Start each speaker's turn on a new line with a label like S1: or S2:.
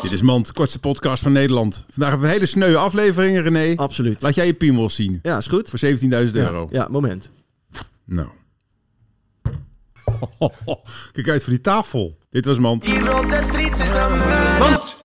S1: Dit is Mand, de kortste podcast van Nederland. Vandaag hebben we een hele sneuwe aflevering, René.
S2: Absoluut.
S1: Laat jij je piemels zien.
S2: Ja, is goed.
S1: Voor 17.000 euro.
S2: Ja, moment.
S1: Nou. Kijk uit voor die tafel. Dit was Mand.
S3: Die rode streets is een